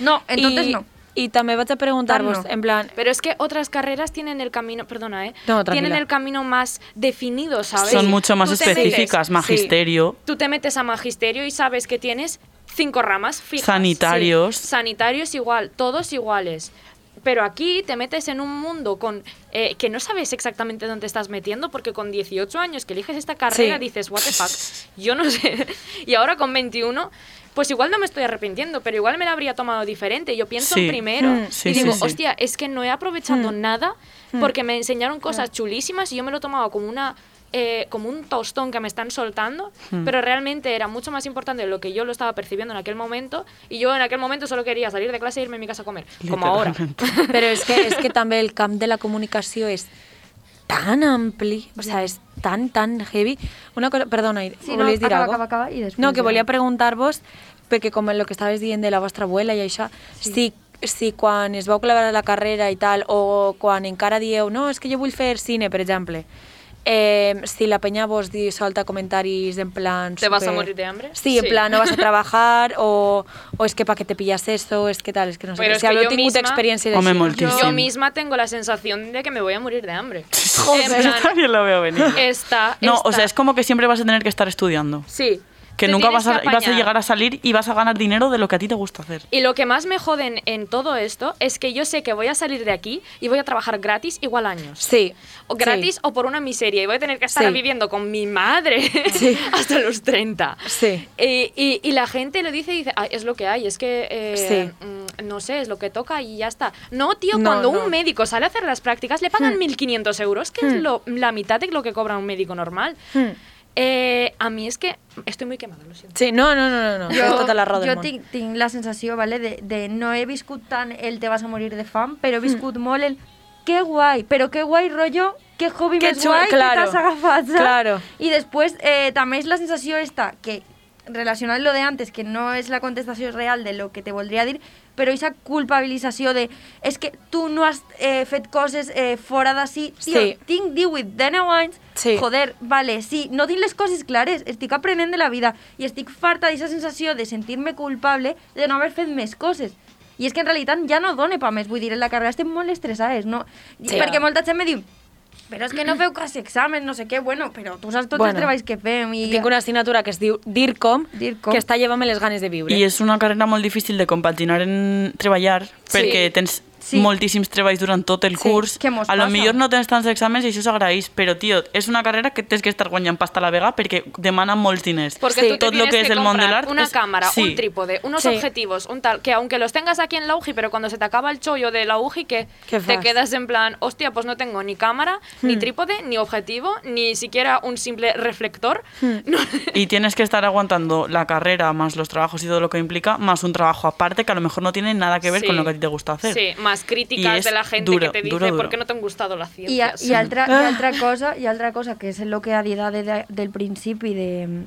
Speaker 3: No, entonces
Speaker 1: I,
Speaker 3: no.
Speaker 1: I també vaig a preguntar-vos,
Speaker 3: Tant no.
Speaker 1: en plan,
Speaker 2: Pero es que otras carreras tienen el camino, perdona, ¿eh?
Speaker 1: No, tranquila.
Speaker 2: tienen el camino más definido, ¿sabes?
Speaker 4: Son mucho más
Speaker 2: Tú te metes-
Speaker 4: específicas.
Speaker 2: sí.
Speaker 4: Magisterio.
Speaker 2: Tú te metes a magisterio y sabes que tienes cinco ramas fijas.
Speaker 4: Sanitarios.
Speaker 2: Sí. Sanitarios igual, todos iguales. Pero aquí te metes en un mundo con eh, que no sabes exactamente dónde estás metiendo, porque con 18 años que eliges esta carrera
Speaker 1: Sí.
Speaker 2: dices, what the fuck, yo no sé. y ahora con 21, pues igual no me estoy arrepintiendo, pero igual me la habría tomado diferente. Yo pienso
Speaker 4: Sí.
Speaker 2: en primero
Speaker 1: Mm.
Speaker 4: Sí,
Speaker 2: y digo,
Speaker 4: sí, Mm. sí.
Speaker 2: hostia, es que no he aprovechado nada porque me enseñaron
Speaker 4: Mm.
Speaker 2: cosas chulísimas y yo me lo tomaba como una eh, como un tostón que me están soltando,
Speaker 4: Mm.
Speaker 2: pero realmente era mucho más importante de lo que yo lo estaba percibiendo en aquel momento y yo en aquel momento solo quería salir de clase e irme a mi casa a comer, como ahora.
Speaker 4: Literalmente.
Speaker 1: Però és que, és que també el camp de la comunicació és tan ampli, o sea, és tan, tan heavy. Una cosa, perdona,
Speaker 3: Sí, no,
Speaker 1: volies dir
Speaker 3: acaba,
Speaker 1: algo?
Speaker 3: acaba, acaba i després
Speaker 1: No, que
Speaker 3: ja.
Speaker 1: volia preguntar-vos, perquè com el que estaves dient de la vostra abuela i això, sí. si, si quan es vau clavar a la carrera i tal, o quan encara dieu, no, és que jo vull fer cine, per exemple, eh, si la penya vos di, solta comentaris en plan...
Speaker 2: Te vas a morir de hambre?
Speaker 1: Sí, en
Speaker 2: Sí.
Speaker 1: plan, no vas a trabajar, o, o es que pa que te pillas eso, es que tal, es que no sé.
Speaker 2: Però
Speaker 1: què.
Speaker 2: és
Speaker 1: si
Speaker 2: que
Speaker 1: habreu
Speaker 2: jo
Speaker 1: tingut
Speaker 2: misma-
Speaker 1: experiències
Speaker 4: Home,
Speaker 1: així, no?
Speaker 4: moltíssim.
Speaker 2: Yo misma tengo la sensación de que me voy a morir de hambre. En
Speaker 4: Yo
Speaker 2: plan,
Speaker 4: también lo veo venir.
Speaker 2: está,
Speaker 4: No, o
Speaker 2: está-
Speaker 4: sea, es como que siempre vas a tener que estar estudiando.
Speaker 2: sí,
Speaker 4: Que
Speaker 2: te
Speaker 4: nunca
Speaker 2: tienes
Speaker 4: vas a,
Speaker 2: que
Speaker 4: vas a
Speaker 2: apañar.
Speaker 4: llegar a salir y vas a ganar dinero de lo que a ti te gusta hacer.
Speaker 2: Y lo que más me joden en todo esto es que yo sé que voy a salir de aquí y voy a trabajar gratis igual años.
Speaker 1: Sí.
Speaker 2: O
Speaker 1: sí.
Speaker 2: gratis o por una miseria. Y voy a tener que estar
Speaker 1: Sí.
Speaker 2: viviendo con mi madre
Speaker 1: Sí.
Speaker 2: hasta los 30.
Speaker 1: Sí.
Speaker 2: Y, y- y la gente lo dice y dice, "Ay, es lo que hay, es que, eh,
Speaker 1: Sí.
Speaker 2: mm, no sé, es lo que toca y ya está. No, tío,
Speaker 1: No,
Speaker 2: cuando
Speaker 1: no. Hmm.
Speaker 2: un médico sale a hacer las prácticas le pagan 1.500 euros, que es lo- la mitad de lo que cobra un médico normal.
Speaker 1: Hmm.
Speaker 2: Eh, a mí es que estoy muy quemada, lo siento.
Speaker 1: Sí, no, no, no, no, no. Jo, tota la raó del
Speaker 3: jo
Speaker 1: món.
Speaker 3: tinc, tinc la sensació vale, de, de no he viscut tant el te vas a morir de fam,
Speaker 1: Hmm.
Speaker 3: però he viscut molt el que guai, però que guai rotllo, que hobby
Speaker 1: Que
Speaker 3: més
Speaker 1: xulo,
Speaker 3: guai
Speaker 1: claro,
Speaker 3: que t'has agafat. saps?
Speaker 1: claro.
Speaker 3: I després eh, també és la sensació esta, que relacionant lo de antes, que no és la contestació real de lo que te voldria dir, però aquesta culpabilització de és que tu no has eh, fet coses eh, fora d'ací, tio,
Speaker 1: Sí.
Speaker 3: tinc 18, 19 anys,
Speaker 1: Sí.
Speaker 3: joder, vale, sí, no tinc les coses clares, estic aprenent de la vida i estic farta d'aquesta sensació de sentir-me culpable de no haver fet més coses. I és que en realitat ja no done pa més, vull dir, en la carrera estem molt estressades, no?
Speaker 1: Sí.
Speaker 3: Sí, perquè molta gent me diu, però és que no feu quasi examen, no sé què, bueno, però tu saps tots
Speaker 1: Bueno.
Speaker 3: els treballs que fem i...
Speaker 1: Tinc una assignatura que es diu DIRCOM,
Speaker 3: DIRCOM.
Speaker 1: que està llevant-me les ganes de viure.
Speaker 4: I és una carrera molt difícil de compaginar en treballar perquè tens
Speaker 3: Sí.
Speaker 4: moltíssims treballs durant tot el curs.
Speaker 3: que mos
Speaker 4: a lo
Speaker 3: passa.
Speaker 4: millor no tens tants exàmens i això s'agraeix, però tio, és una carrera que tens que estar guanyant pasta a la vega perquè demana molts diners.
Speaker 2: Porque
Speaker 1: Sí.
Speaker 2: tú te
Speaker 4: Tot lo
Speaker 2: tienes
Speaker 4: que es del mundo
Speaker 2: comprar
Speaker 4: del arte
Speaker 2: Una
Speaker 4: es-
Speaker 2: cámara,
Speaker 4: sí.
Speaker 2: un trípode, unos
Speaker 1: Sí.
Speaker 2: objetivos, un tal, que aunque los tengas aquí en la UJI, pero cuando se te acaba el chollo de la UJI, que
Speaker 1: ¿Qué
Speaker 2: te
Speaker 1: fas?
Speaker 2: quedas en plan, hostia, pues no tengo ni cámara,
Speaker 4: Hmm.
Speaker 2: ni trípode, ni objetivo, ni siquiera un simple reflector.
Speaker 4: Hmm.
Speaker 2: No-
Speaker 4: Y tienes que estar aguantando la carrera más los trabajos y todo lo que implica, más un trabajo aparte que a lo mejor no tiene nada que ver
Speaker 2: Sí.
Speaker 4: con lo que a ti te gusta hacer.
Speaker 2: Sí, más
Speaker 4: Y
Speaker 2: críticas
Speaker 4: es
Speaker 2: de la gente que
Speaker 4: duro,
Speaker 2: te dice
Speaker 4: duro, duro.
Speaker 2: por qué no te han gustado las
Speaker 3: I, a-
Speaker 2: ciencias.
Speaker 3: i, altra,
Speaker 1: Ah.
Speaker 3: i altra cosa, i altra cosa que és el que ha dit de, de, del principi de,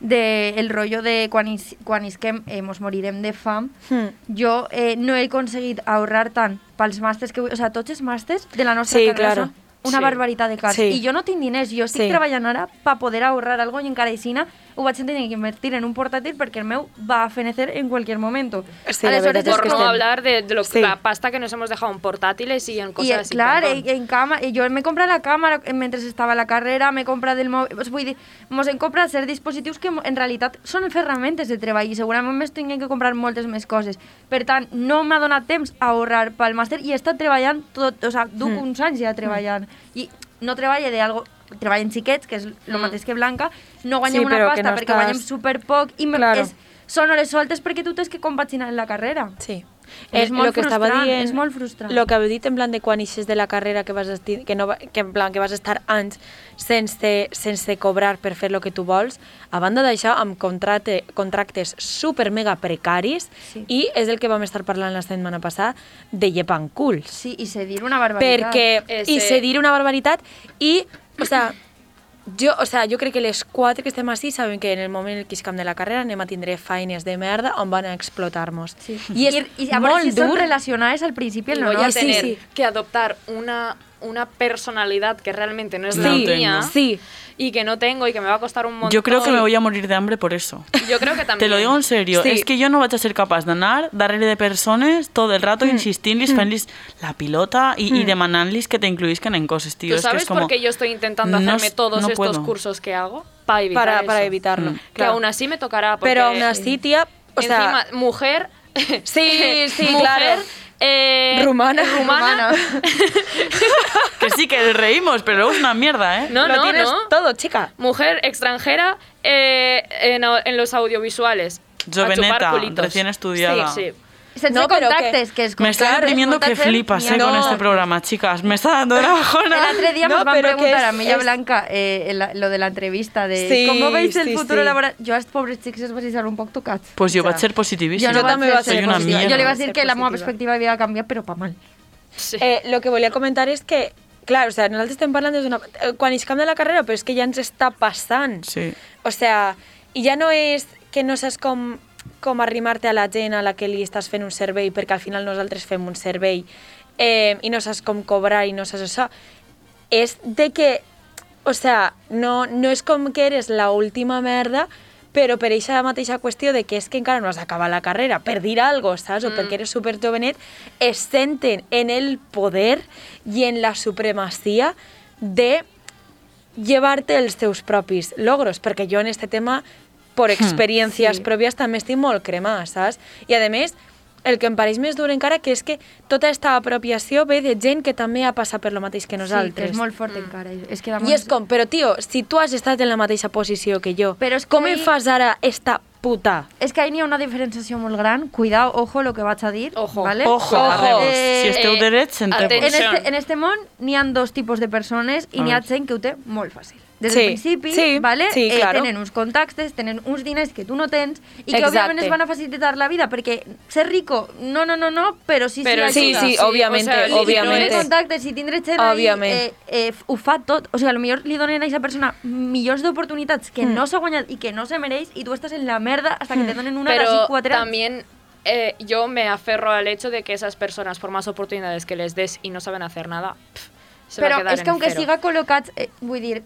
Speaker 3: de el rollo de quan, is, quan isquem eh, mos morirem de fam,
Speaker 1: Hmm.
Speaker 3: jo eh, no he aconseguit ahorrar tant pels màsters que vull, o sigui, tots els màsters de la nostra
Speaker 1: Sí,
Speaker 3: carrera
Speaker 1: claro.
Speaker 3: són una
Speaker 2: Sí.
Speaker 3: barbaritat de cars.
Speaker 1: Sí.
Speaker 3: I jo no tinc diners, jo estic
Speaker 1: Sí.
Speaker 3: treballant ara per poder ahorrar algo i encara així ho vaig tenir que invertir en un portàtil perquè el meu va a fenecer en cualquier momento.
Speaker 1: Sí, la veritat és
Speaker 2: por
Speaker 1: que
Speaker 2: no
Speaker 1: estem-
Speaker 2: hablar de, de lo-
Speaker 1: Sí.
Speaker 2: la pasta que nos hemos dejado en portátiles y en
Speaker 3: Y
Speaker 2: cosas así.
Speaker 3: claro,
Speaker 2: perdón.
Speaker 3: en, en cama, y yo me compré la cámara eh, mientras estaba la carrera, me compré del móvil, os voy dir, mos en compra ser dispositius que mo- en realitat són ferramentes de treball i segurament més tinguem que comprar moltes més coses. Per tant, no m'ha donat temps a ahorrar pel màster i he estat treballant tot, o sea, duc
Speaker 1: Hmm.
Speaker 3: uns anys ja treballant i no treballe de algo treballen xiquets, que és el
Speaker 2: Mm.
Speaker 3: mateix que Blanca, no
Speaker 1: Hmm.
Speaker 3: guanyem
Speaker 1: Sí,
Speaker 3: una
Speaker 1: però que
Speaker 3: pasta
Speaker 1: no
Speaker 3: perquè
Speaker 1: estàs-
Speaker 3: guanyem superpoc i me,
Speaker 1: Claro.
Speaker 3: és, són hores soltes perquè tu tens que compaginar la carrera.
Speaker 1: Sí.
Speaker 3: És
Speaker 1: Eh,
Speaker 3: molt
Speaker 1: lo que estava
Speaker 3: frustrant,
Speaker 1: dient,
Speaker 3: és molt frustrant.
Speaker 1: Lo que heu dit en plan de quan eixes de la carrera que vas, esti, que no, va- que en plan que vas estar anys sense, sense cobrar per fer el que tu vols, a banda d'això amb contracte, contractes super mega precaris
Speaker 3: Sí.
Speaker 1: i és el que vam estar parlant la setmana passada de llepant culs.
Speaker 3: Sí, i cedir una barbaritat.
Speaker 1: perquè...
Speaker 2: Eh,
Speaker 1: I
Speaker 2: sí.
Speaker 1: cedir una barbaritat i, o sea, Jo, o sea, jo crec que les quatre que estem així sabem que en el moment en què iscam de la carrera anem a tindre feines de merda on van a explotar-nos.
Speaker 3: Sí.
Speaker 1: I és
Speaker 3: y a ver
Speaker 1: molt
Speaker 3: si son
Speaker 1: dur.
Speaker 3: relacionadas al principio,
Speaker 2: Y
Speaker 3: el
Speaker 2: voy
Speaker 3: honor.
Speaker 2: a
Speaker 1: Sí,
Speaker 2: tener
Speaker 1: sí.
Speaker 2: que adoptar una, una personalidad que realmente no es la
Speaker 1: Sí,
Speaker 2: mía
Speaker 1: sí.
Speaker 2: y que no tengo y que me va a costar un montón.
Speaker 4: Yo creo que me voy a morir de hambre por eso.
Speaker 2: Yo creo que también.
Speaker 4: Te lo digo en serio,
Speaker 1: Sí.
Speaker 4: és que jo no vaig a ser capaç d'anar darrere de persones tot el rato insistint-los, fent-los la pilota i, i demanant-los que t'incluïsquen en coses, tio.
Speaker 2: ¿Tú
Speaker 4: és que
Speaker 2: sabes
Speaker 4: és como,
Speaker 2: por qué yo estoy intentando
Speaker 4: no
Speaker 2: hacerme
Speaker 4: s-
Speaker 2: todos
Speaker 4: no
Speaker 2: estos
Speaker 4: puedo.
Speaker 2: cursos que hago? Para evitar
Speaker 1: Para, para
Speaker 2: eso.
Speaker 1: evitarlo.
Speaker 4: Mm.
Speaker 2: Que
Speaker 1: Claro.
Speaker 2: aún así me tocará. Porque
Speaker 1: Pero aún así, tía, o sea,
Speaker 2: encima, mujer.
Speaker 1: Sí, sí,
Speaker 2: mujer,
Speaker 1: claro.
Speaker 2: eh,
Speaker 1: Rumana.
Speaker 2: rumana.
Speaker 4: Que sí, que reímos, pero luego es una mierda, ¿eh?
Speaker 2: No,
Speaker 1: lo
Speaker 2: no,
Speaker 1: tienes
Speaker 2: no.
Speaker 1: todo, chica.
Speaker 2: Mujer extranjera eh, en, au- en los audiovisuales. A chupar
Speaker 4: Joveneta,
Speaker 2: culitos.
Speaker 4: recién estudiada.
Speaker 2: Sí, sí.
Speaker 3: Se
Speaker 1: No, pero
Speaker 3: contactes, que es
Speaker 4: Me está
Speaker 3: contactes,
Speaker 4: deprimiendo que
Speaker 3: contactes,
Speaker 4: flipas eh,
Speaker 3: mierda.
Speaker 4: con este programa, chicas. Me está dando la bajona.
Speaker 3: El otro día
Speaker 1: No,
Speaker 3: nos van a
Speaker 1: pero que
Speaker 3: preguntar
Speaker 1: es-
Speaker 3: a Milla
Speaker 1: es-
Speaker 3: Blanca eh, el- lo de la entrevista de
Speaker 1: Sí,
Speaker 3: cómo veis el
Speaker 1: sí,
Speaker 3: futuro
Speaker 1: sí.
Speaker 3: laboral. Yo a los pobres chicos os vais a ser un poco tocats.
Speaker 4: Pues yo
Speaker 3: O sea,
Speaker 4: voy a ser positivísima.
Speaker 3: Yo, no
Speaker 1: Yo también
Speaker 3: también
Speaker 1: voy
Speaker 3: voy
Speaker 1: a
Speaker 3: a
Speaker 1: ser
Speaker 4: Soy una
Speaker 1: positiva.
Speaker 3: Yo
Speaker 4: mierda.
Speaker 3: le iba a
Speaker 1: Ser
Speaker 3: decir que la meva
Speaker 1: positiva.
Speaker 3: perspectiva iba a cambiar, pero para mal.
Speaker 2: Sí.
Speaker 1: Eh, lo que volia comentar és que, clar, o sea, nosaltres estem parlant des d'una... eh, Quan iscam de la carrera, però és que ja ens està passant.
Speaker 4: Sí.
Speaker 1: O sea, i ja no és que no saps com, com arrimar-te a la gent a la que li estàs fent un servei, perquè al final nosaltres fem un servei eh, i no saps com cobrar i no saps això. És de que, o sea, no, no és com que eres la última merda, però per eixa mateixa qüestió de que és que encara no has acabat la carrera, per dir algo, saps? O perquè eres super jovenet, es senten en el poder i en la supremacia de llevarte els teus propis logros, perquè jo en este tema, per experiències
Speaker 3: Sí.
Speaker 1: pròpies, també estic molt cremada, saps? I a més, el que em pareix més dur encara que és que tota aquesta apropiació ve de gent que també ha passat per lo mateix que
Speaker 3: Sí, que
Speaker 1: nosaltres.
Speaker 3: es muy fuerte encara. Es que
Speaker 1: I és com, però tio, si tu has estat en la mateixa posició que jo,
Speaker 3: Però és que
Speaker 1: com
Speaker 3: ahí-
Speaker 1: em fas ara esta puta?
Speaker 3: Es que ahí ni una diferenciación muy grande. Cuidado, ojo lo que vas a decir.
Speaker 2: Ojo.
Speaker 3: ¿vale?
Speaker 4: Ojo, arreos. Si esteu
Speaker 2: eh,
Speaker 4: derets, senteu-vos.
Speaker 3: En
Speaker 2: atenció.
Speaker 3: este, en este món n'hi ha dos tipus de persones i
Speaker 4: A
Speaker 3: n'hi ha
Speaker 4: veure.
Speaker 3: gent que ho té molt fàcil. Des
Speaker 1: Sí,
Speaker 3: del principi,
Speaker 1: sí,
Speaker 3: vale?
Speaker 1: sí, claro.
Speaker 3: eh, tenen uns contactes, tenen uns diners que tu no tens i que
Speaker 1: Exacte.
Speaker 3: òbviament es van a facilitar la vida perquè ser rico, no, no, no, no, però sí,
Speaker 2: Pero
Speaker 3: sí,
Speaker 1: sí,
Speaker 3: ajuda.
Speaker 1: sí, obviamente,
Speaker 2: o sea,
Speaker 3: Si
Speaker 1: obviamente.
Speaker 3: tindré contactes, si tindré xerra
Speaker 1: Òbviament.
Speaker 3: eh, eh, ho fa tot. O sigui, potser li donen a aquesta persona milions d'oportunitats que
Speaker 1: Mm.
Speaker 3: no s'ha guanyat i que no se mereix i tu estàs en la merda hasta que te donen una de
Speaker 2: pero
Speaker 3: les quatre anys.
Speaker 2: también eh, yo me aferro al hecho de que esas personas, por más oportunidades que les des y no saben hacer nada, pf, se va a
Speaker 3: Pero
Speaker 2: quedar
Speaker 3: es que
Speaker 2: en
Speaker 3: aunque
Speaker 2: cero.
Speaker 3: siga colocat, eh, voy a decir,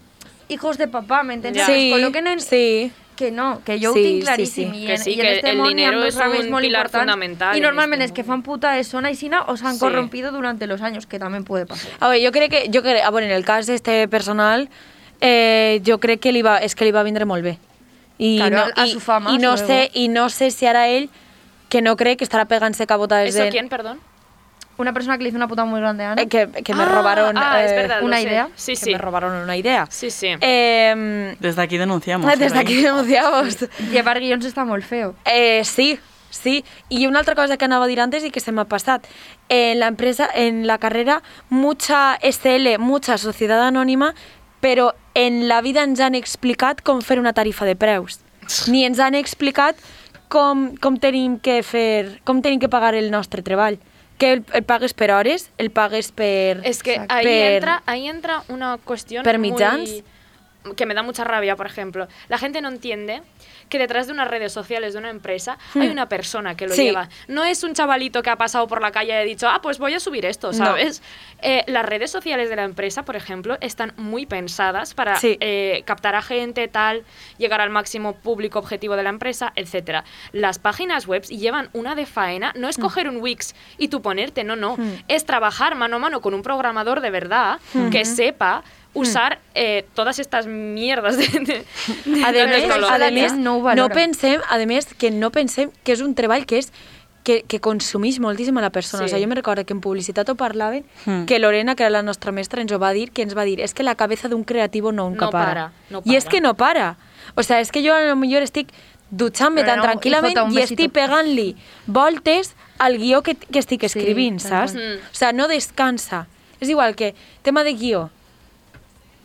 Speaker 3: hijos de papá, ¿me entiendes?
Speaker 2: Ya.
Speaker 3: Que os coloquen en...
Speaker 1: sí.
Speaker 3: Que no, que yo
Speaker 1: Sí,
Speaker 3: sí,
Speaker 1: sí,
Speaker 3: tinc claríssim.
Speaker 1: sí.
Speaker 3: I
Speaker 2: Que
Speaker 3: en,
Speaker 2: sí,
Speaker 3: i en
Speaker 2: que
Speaker 3: este
Speaker 2: el
Speaker 3: món hi ha
Speaker 2: dinero
Speaker 3: dos
Speaker 2: es
Speaker 3: rames
Speaker 2: un
Speaker 3: molt
Speaker 2: pilar
Speaker 3: importants.
Speaker 2: fundamental
Speaker 3: Y
Speaker 2: en
Speaker 3: normalmente
Speaker 2: este
Speaker 3: es que
Speaker 2: mundo.
Speaker 3: fan puta es son aixina o s'han
Speaker 2: Sí.
Speaker 3: corrompido durante los años, que también puede pasar.
Speaker 1: A veure, jo crec que, jo crec, ah, bueno, en el cas d'este personal, eh, jo crec que li va, és que li va vindre molt bé. I
Speaker 3: Claro,
Speaker 1: no,
Speaker 3: a
Speaker 1: i,
Speaker 3: su fama,
Speaker 1: i no
Speaker 3: luego.
Speaker 1: sé, I no sé si ara ell, que no crec que estarà pegant-se cabotades
Speaker 2: ¿Eso
Speaker 1: de...
Speaker 2: quién, perdón?
Speaker 3: Una persona que le hizo una puta muy grande a Ana.
Speaker 1: Eh, que, que me
Speaker 2: Ah,
Speaker 1: robaron...
Speaker 2: ah, es
Speaker 1: eh,
Speaker 2: verdad, lo
Speaker 3: una
Speaker 2: sé.
Speaker 3: idea.
Speaker 2: Sí,
Speaker 1: Que
Speaker 2: sí.
Speaker 1: me robaron una idea.
Speaker 2: Sí, sí.
Speaker 1: Eh,
Speaker 4: Desde aquí denunciamos.
Speaker 1: des
Speaker 4: Saraí.
Speaker 1: d'aquí denunciamos.
Speaker 3: Llevar guions està molt feo.
Speaker 1: Eh, sí, sí. I una altra cosa que anava a dir antes i que se m'ha passat. En la empresa, en la carrera, mucha SL, mucha societat anònima, però en la vida ens han explicat com fer una tarifa de preus. Ni ens han explicat com, com tenim que fer, com tenim que pagar el nostre treball. Que el, el pagues per hores, el pagues per...
Speaker 2: Es que
Speaker 3: Exacto.
Speaker 2: ahí,
Speaker 1: Per-
Speaker 2: entra, ahí entra una cuestión
Speaker 1: Per
Speaker 2: muy-
Speaker 1: mitjans.
Speaker 2: que me da mucha rabia, por ejemplo. La gente no entiende que detrás de unas redes sociales de una empresa hay una persona que lo
Speaker 1: Hmm. Sí.
Speaker 2: lleva. No es un chavalito que ha pasado por la calle y ha dicho, ah, pues voy a subir
Speaker 1: No.
Speaker 2: esto, ¿sabes? Eh, las redes sociales de la empresa, por ejemplo, están muy pensadas para
Speaker 1: Sí.
Speaker 2: eh, captar a gente, tal, llegar al máximo público objetivo de la empresa, etcétera. Las páginas web llevan una de faena, no es
Speaker 1: Hmm.
Speaker 2: coger un Wix y tú ponerte, no, no,
Speaker 1: Mm.
Speaker 2: es trabajar mano a mano con un programador de verdad
Speaker 1: Hmm.
Speaker 2: que sepa usar eh, todas estas mierdas de, de- de-
Speaker 1: a
Speaker 2: de
Speaker 1: més,
Speaker 2: tecnología.
Speaker 1: a de més, no,
Speaker 3: no ho
Speaker 1: no
Speaker 3: valora.
Speaker 1: pensem, a de més, que no pensem que és un treball que és que, que consumís moltíssim a la persona.
Speaker 2: Sí.
Speaker 1: Sí. O sigui, jo me recordo que en publicitat ho parlaven,
Speaker 4: Mm.
Speaker 3: Hmm.
Speaker 1: mm. que Lorena, que era la nostra mestra, ens ho va dir, que ens va dir, és que la cabeza d'un creativo no nunca
Speaker 2: No para, no
Speaker 1: I és
Speaker 2: para.
Speaker 1: que no para. O sigui, és que jo a lo millor estic dutxant-me
Speaker 3: Però
Speaker 1: tan
Speaker 3: no,
Speaker 1: tranquil·lament
Speaker 3: hijo, un
Speaker 1: i
Speaker 3: besito.
Speaker 1: estic pegant-li voltes al guió que, que estic
Speaker 3: Sí,
Speaker 1: escrivint,
Speaker 3: tal
Speaker 1: saps?
Speaker 2: cual.
Speaker 1: O sea, no descansa. És igual que, tema de guió,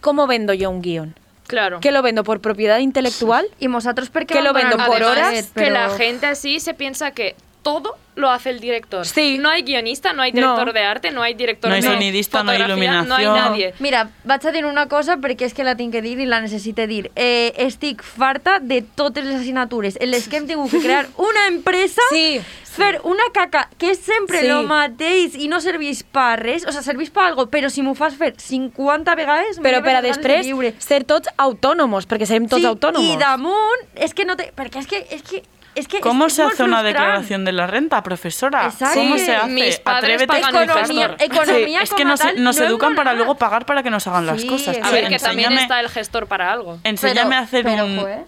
Speaker 1: ¿cómo vendo yo un guión?
Speaker 2: Claro.
Speaker 1: ¿Que lo vendo por propiedad intelectual?
Speaker 3: I vosaltres per què
Speaker 1: Que lo
Speaker 3: abandonar
Speaker 1: vendo
Speaker 3: el
Speaker 1: por
Speaker 2: Además,
Speaker 1: horas,
Speaker 3: internet,
Speaker 2: que
Speaker 3: però-
Speaker 2: la gente así se piensa que todo lo hace el director.
Speaker 1: Sí.
Speaker 2: No hay guionista, no hay director
Speaker 1: No.
Speaker 2: de arte, no hay director
Speaker 4: No
Speaker 2: de
Speaker 4: hay sonidista, no hay
Speaker 2: fotografía, No hay
Speaker 4: il·luminació.
Speaker 2: nadie.
Speaker 3: Mira, vaig a dir una cosa perquè és que la tinc que dir i la necessite dir. Eh, estic farta de totes les assignatures en les que hem tingut que crear una empresa,
Speaker 1: Sí.
Speaker 3: fer una caca que és sempre
Speaker 1: Sí.
Speaker 3: sí. lo mateix i no serveix per res, o sigui, serveix per algo, però si m'ho fas fer 50 vegades... me
Speaker 1: Però per
Speaker 3: lleves
Speaker 1: a
Speaker 3: les ganes de
Speaker 1: després
Speaker 3: viure.
Speaker 1: ser tots autònoms, perquè serem tots autònoms.
Speaker 3: I damunt, és que no te... Perquè és que... És que és que
Speaker 4: ¿Cómo
Speaker 3: és
Speaker 4: se
Speaker 3: molt
Speaker 4: hace una
Speaker 3: frustrant.
Speaker 4: declaración de la renta, profesora?
Speaker 3: Exacto.
Speaker 4: ¿Cómo
Speaker 3: Sí,
Speaker 4: se hace?
Speaker 2: mis padres pagan un
Speaker 4: gestor.
Speaker 3: Economía,
Speaker 2: gestor.
Speaker 3: economía
Speaker 4: Es que
Speaker 3: como
Speaker 4: nos,
Speaker 3: tal,
Speaker 4: nos
Speaker 3: no es
Speaker 4: educan para
Speaker 3: moral.
Speaker 4: luego pagar para que nos hagan las
Speaker 3: Sí,
Speaker 4: cosas.
Speaker 2: A
Speaker 3: Sí,
Speaker 2: ver, que también
Speaker 4: enséñame-
Speaker 2: está el gestor para algo.
Speaker 4: Enséñame
Speaker 3: Pero-
Speaker 4: a hacer
Speaker 3: pero,
Speaker 4: un...
Speaker 3: ojo, ¿eh?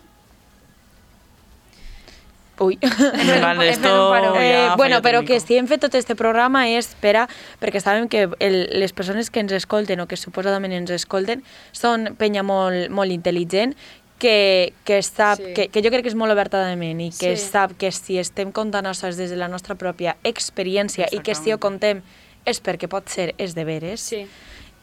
Speaker 1: Ui.
Speaker 3: Fer un- és
Speaker 4: Vale,
Speaker 3: fer un
Speaker 4: esto
Speaker 3: paró.
Speaker 4: ya
Speaker 1: Eh,
Speaker 4: fallo
Speaker 1: bueno, però
Speaker 4: técnico.
Speaker 1: que si hem fet tot este programa és per a... Perquè sabem que el, les persones que ens escolten o que suposadament ens escolten són penya molt, molt intel·ligent que, que sap,
Speaker 2: Sí.
Speaker 1: que, que jo crec que és molt oberta de ment i que
Speaker 2: Sí.
Speaker 1: sap que si estem contant coses des de la nostra pròpia experiència i que si ho contem és perquè pot ser, és de veres.
Speaker 2: Sí.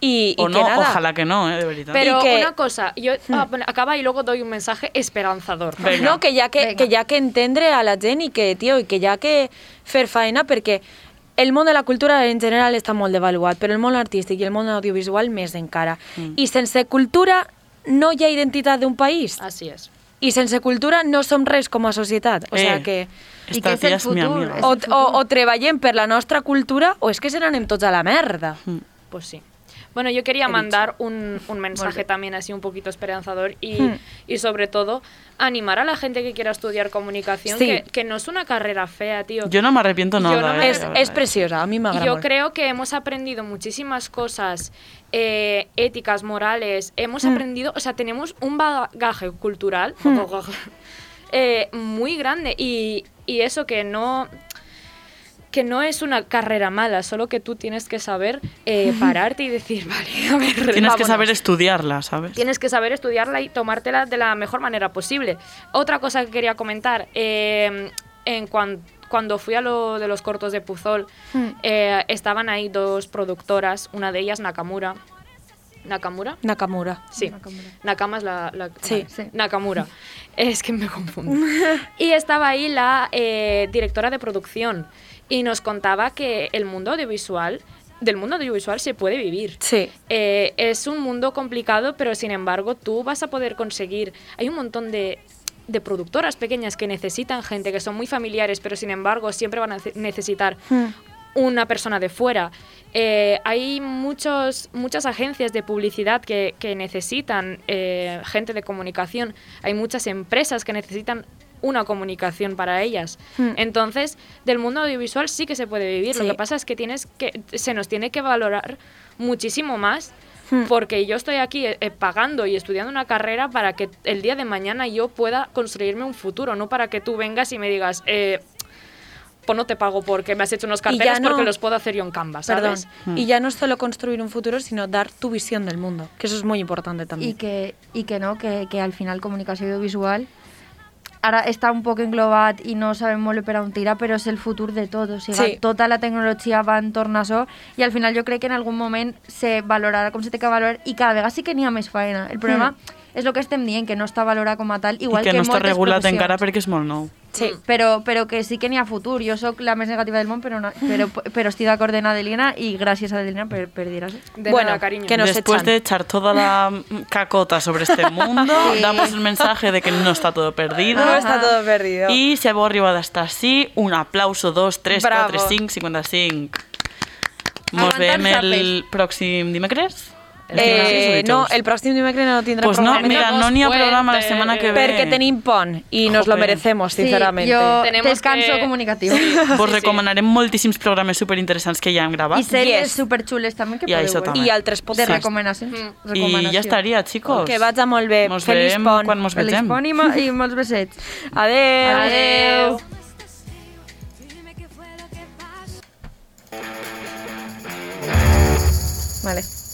Speaker 1: I,
Speaker 4: O
Speaker 1: i
Speaker 4: no,
Speaker 1: que nada,
Speaker 4: ojalá que no, ¿eh? De verdad.
Speaker 2: Pero
Speaker 1: Y que-
Speaker 2: una cosa, yo ah, bueno, acaba y luego doy un mensaje esperanzador.
Speaker 4: Venga.
Speaker 1: No, que hi, ha que,
Speaker 3: Vinga.
Speaker 1: que hi ha que entendre a la gent i que, tio, i que hi ha que fer feina perquè el món de la cultura en general està molt devaluat, però el món artístic i el món audiovisual més encara. Mm. I sense cultura no hi ha identitat d'un país.
Speaker 2: Así es.
Speaker 1: I sense cultura no som res com a societat. O sigui
Speaker 4: Eh,
Speaker 1: que
Speaker 3: I
Speaker 4: Esta
Speaker 3: que és el
Speaker 4: tía es mi
Speaker 3: futur,
Speaker 4: amiga.
Speaker 3: és
Speaker 1: o,
Speaker 3: el
Speaker 1: o, o treballem per la nostra cultura o és que se n'anem tots a la merda.
Speaker 4: Mm.
Speaker 2: Pues sí. Bueno, yo quería mandar un, un mensaje
Speaker 3: bien.
Speaker 2: también así un poquito esperanzador y,
Speaker 1: Hmm.
Speaker 2: y sobre todo animar a la gente que quiera estudiar comunicación,
Speaker 1: Sí.
Speaker 2: que, que no es una carrera fea, tío.
Speaker 4: Yo no me arrepiento
Speaker 2: Yo
Speaker 4: nada.
Speaker 2: no me-
Speaker 4: ¿eh?
Speaker 1: És,
Speaker 4: La
Speaker 1: és
Speaker 4: verdad.
Speaker 1: preciosa, a mi
Speaker 2: Y
Speaker 1: m'agrada
Speaker 2: yo
Speaker 1: molt.
Speaker 2: creo que hemos aprendido muchísimas cosas eh, éticas, morales. Hemos
Speaker 4: Mm.
Speaker 2: aprendido, o sea, tenemos un bagaje cultural eh, muy grande. Y, y eso que no que no es una carrera mala, solo que tú tienes que saber eh, pararte y decir, vale, a ver,
Speaker 4: Tienes que
Speaker 2: vámonos".
Speaker 4: saber estudiarla, ¿sabes?
Speaker 2: Tienes que saber estudiarla y tomártela de la mejor manera posible. Otra cosa que quería comentar, eh, en cuan- cuando fui a lo de los cortos de Puzol,
Speaker 3: Hmm.
Speaker 2: eh, estaban ahí dos productoras, una de ellas Nakamura. ¿Nakamura?
Speaker 1: Nakamura.
Speaker 2: Sí.
Speaker 3: Nakamura.
Speaker 2: Nakama es la... la-
Speaker 1: Sí.
Speaker 2: vale.
Speaker 3: Sí.
Speaker 2: Nakamura. Es que me confundo. Y estaba ahí la eh, directora de producción y nos contaba que el mundo audiovisual, del mundo audiovisual se puede vivir.
Speaker 1: Sí.
Speaker 2: Eh, es un mundo complicado, pero sin embargo tú vas a poder conseguir... Hay un montón de, de productoras pequeñas que necesitan gente, que son muy familiares, pero sin embargo siempre van a ce- necesitar
Speaker 1: Mm.
Speaker 2: una persona de fuera. Eh, hay muchos, muchas agencias de publicidad que, que necesitan eh, gente de comunicación. Hay muchas empresas que necesitan una comunicación para ellas. Entonces, del mundo audiovisual sí que se puede vivir. Lo
Speaker 1: Sí.
Speaker 2: que pasa es que, tienes que se nos tiene que valorar muchísimo más porque yo estoy aquí eh, eh, pagando y estudiando una carrera para que el día de mañana yo pueda construirme un futuro, no para que tú vengas y me digas, eh, pues no te pago porque me has hecho unos
Speaker 1: Y ya
Speaker 2: carteles
Speaker 1: no-
Speaker 2: porque los puedo hacer yo en Canva,
Speaker 1: Perdón.
Speaker 2: ¿sabes?
Speaker 1: Y ya no es solo construir un futuro, sino dar tu visión del mundo, que eso es muy importante
Speaker 3: Y
Speaker 1: también.
Speaker 3: que, y que no, que, que al final comunicació audiovisual ara està un poc englobat i no sabem molt bé per on tira, però és el futur de tot. O sigui,
Speaker 1: Sí.
Speaker 3: sí. tota la tecnologia va entorn a això i al final jo crec que en algun moment se valorarà com se té que valorar i cada vegada sí que n'hi ha més feina. El problema és el que estem dient, que no està valorat com a tal,
Speaker 4: I
Speaker 3: igual
Speaker 4: que,
Speaker 3: que,
Speaker 4: no està
Speaker 3: moltes
Speaker 4: regulat
Speaker 3: professions.
Speaker 4: encara perquè és molt nou.
Speaker 1: Sí.
Speaker 3: Però, però que sí que n'hi ha futur. Jo sóc la més negativa del món, però, no, però, però estic d'acord amb Adelina i gràcies, Adelina, per, per dir això.
Speaker 2: De
Speaker 1: Bueno,
Speaker 2: nada, cariño.
Speaker 1: que no- nos
Speaker 4: Después
Speaker 1: echan.
Speaker 4: de echar toda la mm, cacota sobre este mundo,
Speaker 3: Sí.
Speaker 4: damos el mensaje de que no está todo perdido.
Speaker 1: No está todo perdido.
Speaker 4: Y si hemos arribado hasta así, un aplauso, dos, tres,
Speaker 1: Bravo.
Speaker 4: quatre, cinc, 55. Nos
Speaker 3: Aguantar
Speaker 4: vemos el
Speaker 3: zapes.
Speaker 4: próximo dimecres?
Speaker 1: Eh, no, el pròxim dimecres no tindrà
Speaker 4: Pues no,
Speaker 1: programa.
Speaker 4: mira, no ni a programa la
Speaker 2: Puente.
Speaker 4: semana que viene.
Speaker 1: perquè tenim pont i nos lo
Speaker 4: Jope.
Speaker 1: merecemos, sincerament.
Speaker 3: jo
Speaker 2: Tenemos
Speaker 3: descanso
Speaker 2: que-
Speaker 3: comunicatiu.
Speaker 4: Vos
Speaker 2: Sí, sí.
Speaker 4: recomanaré moltíssims programes superinteressants que ja hem gravat.
Speaker 3: Y series
Speaker 1: Yes.
Speaker 3: superchules también que
Speaker 4: Y ahí
Speaker 3: podeu
Speaker 4: eso
Speaker 3: veure.
Speaker 1: I altres
Speaker 3: De
Speaker 1: podcasts.
Speaker 3: recomanacions.
Speaker 4: I ja estaria, chicos.
Speaker 1: Que vaig a molt bé.
Speaker 4: Mos
Speaker 1: Feliç
Speaker 4: veiem
Speaker 1: pont.
Speaker 4: quan mos
Speaker 3: Feliç
Speaker 4: vegem.
Speaker 3: pont i, mo- i molts besets.
Speaker 1: Adeu.
Speaker 2: Adeu.
Speaker 3: Vale.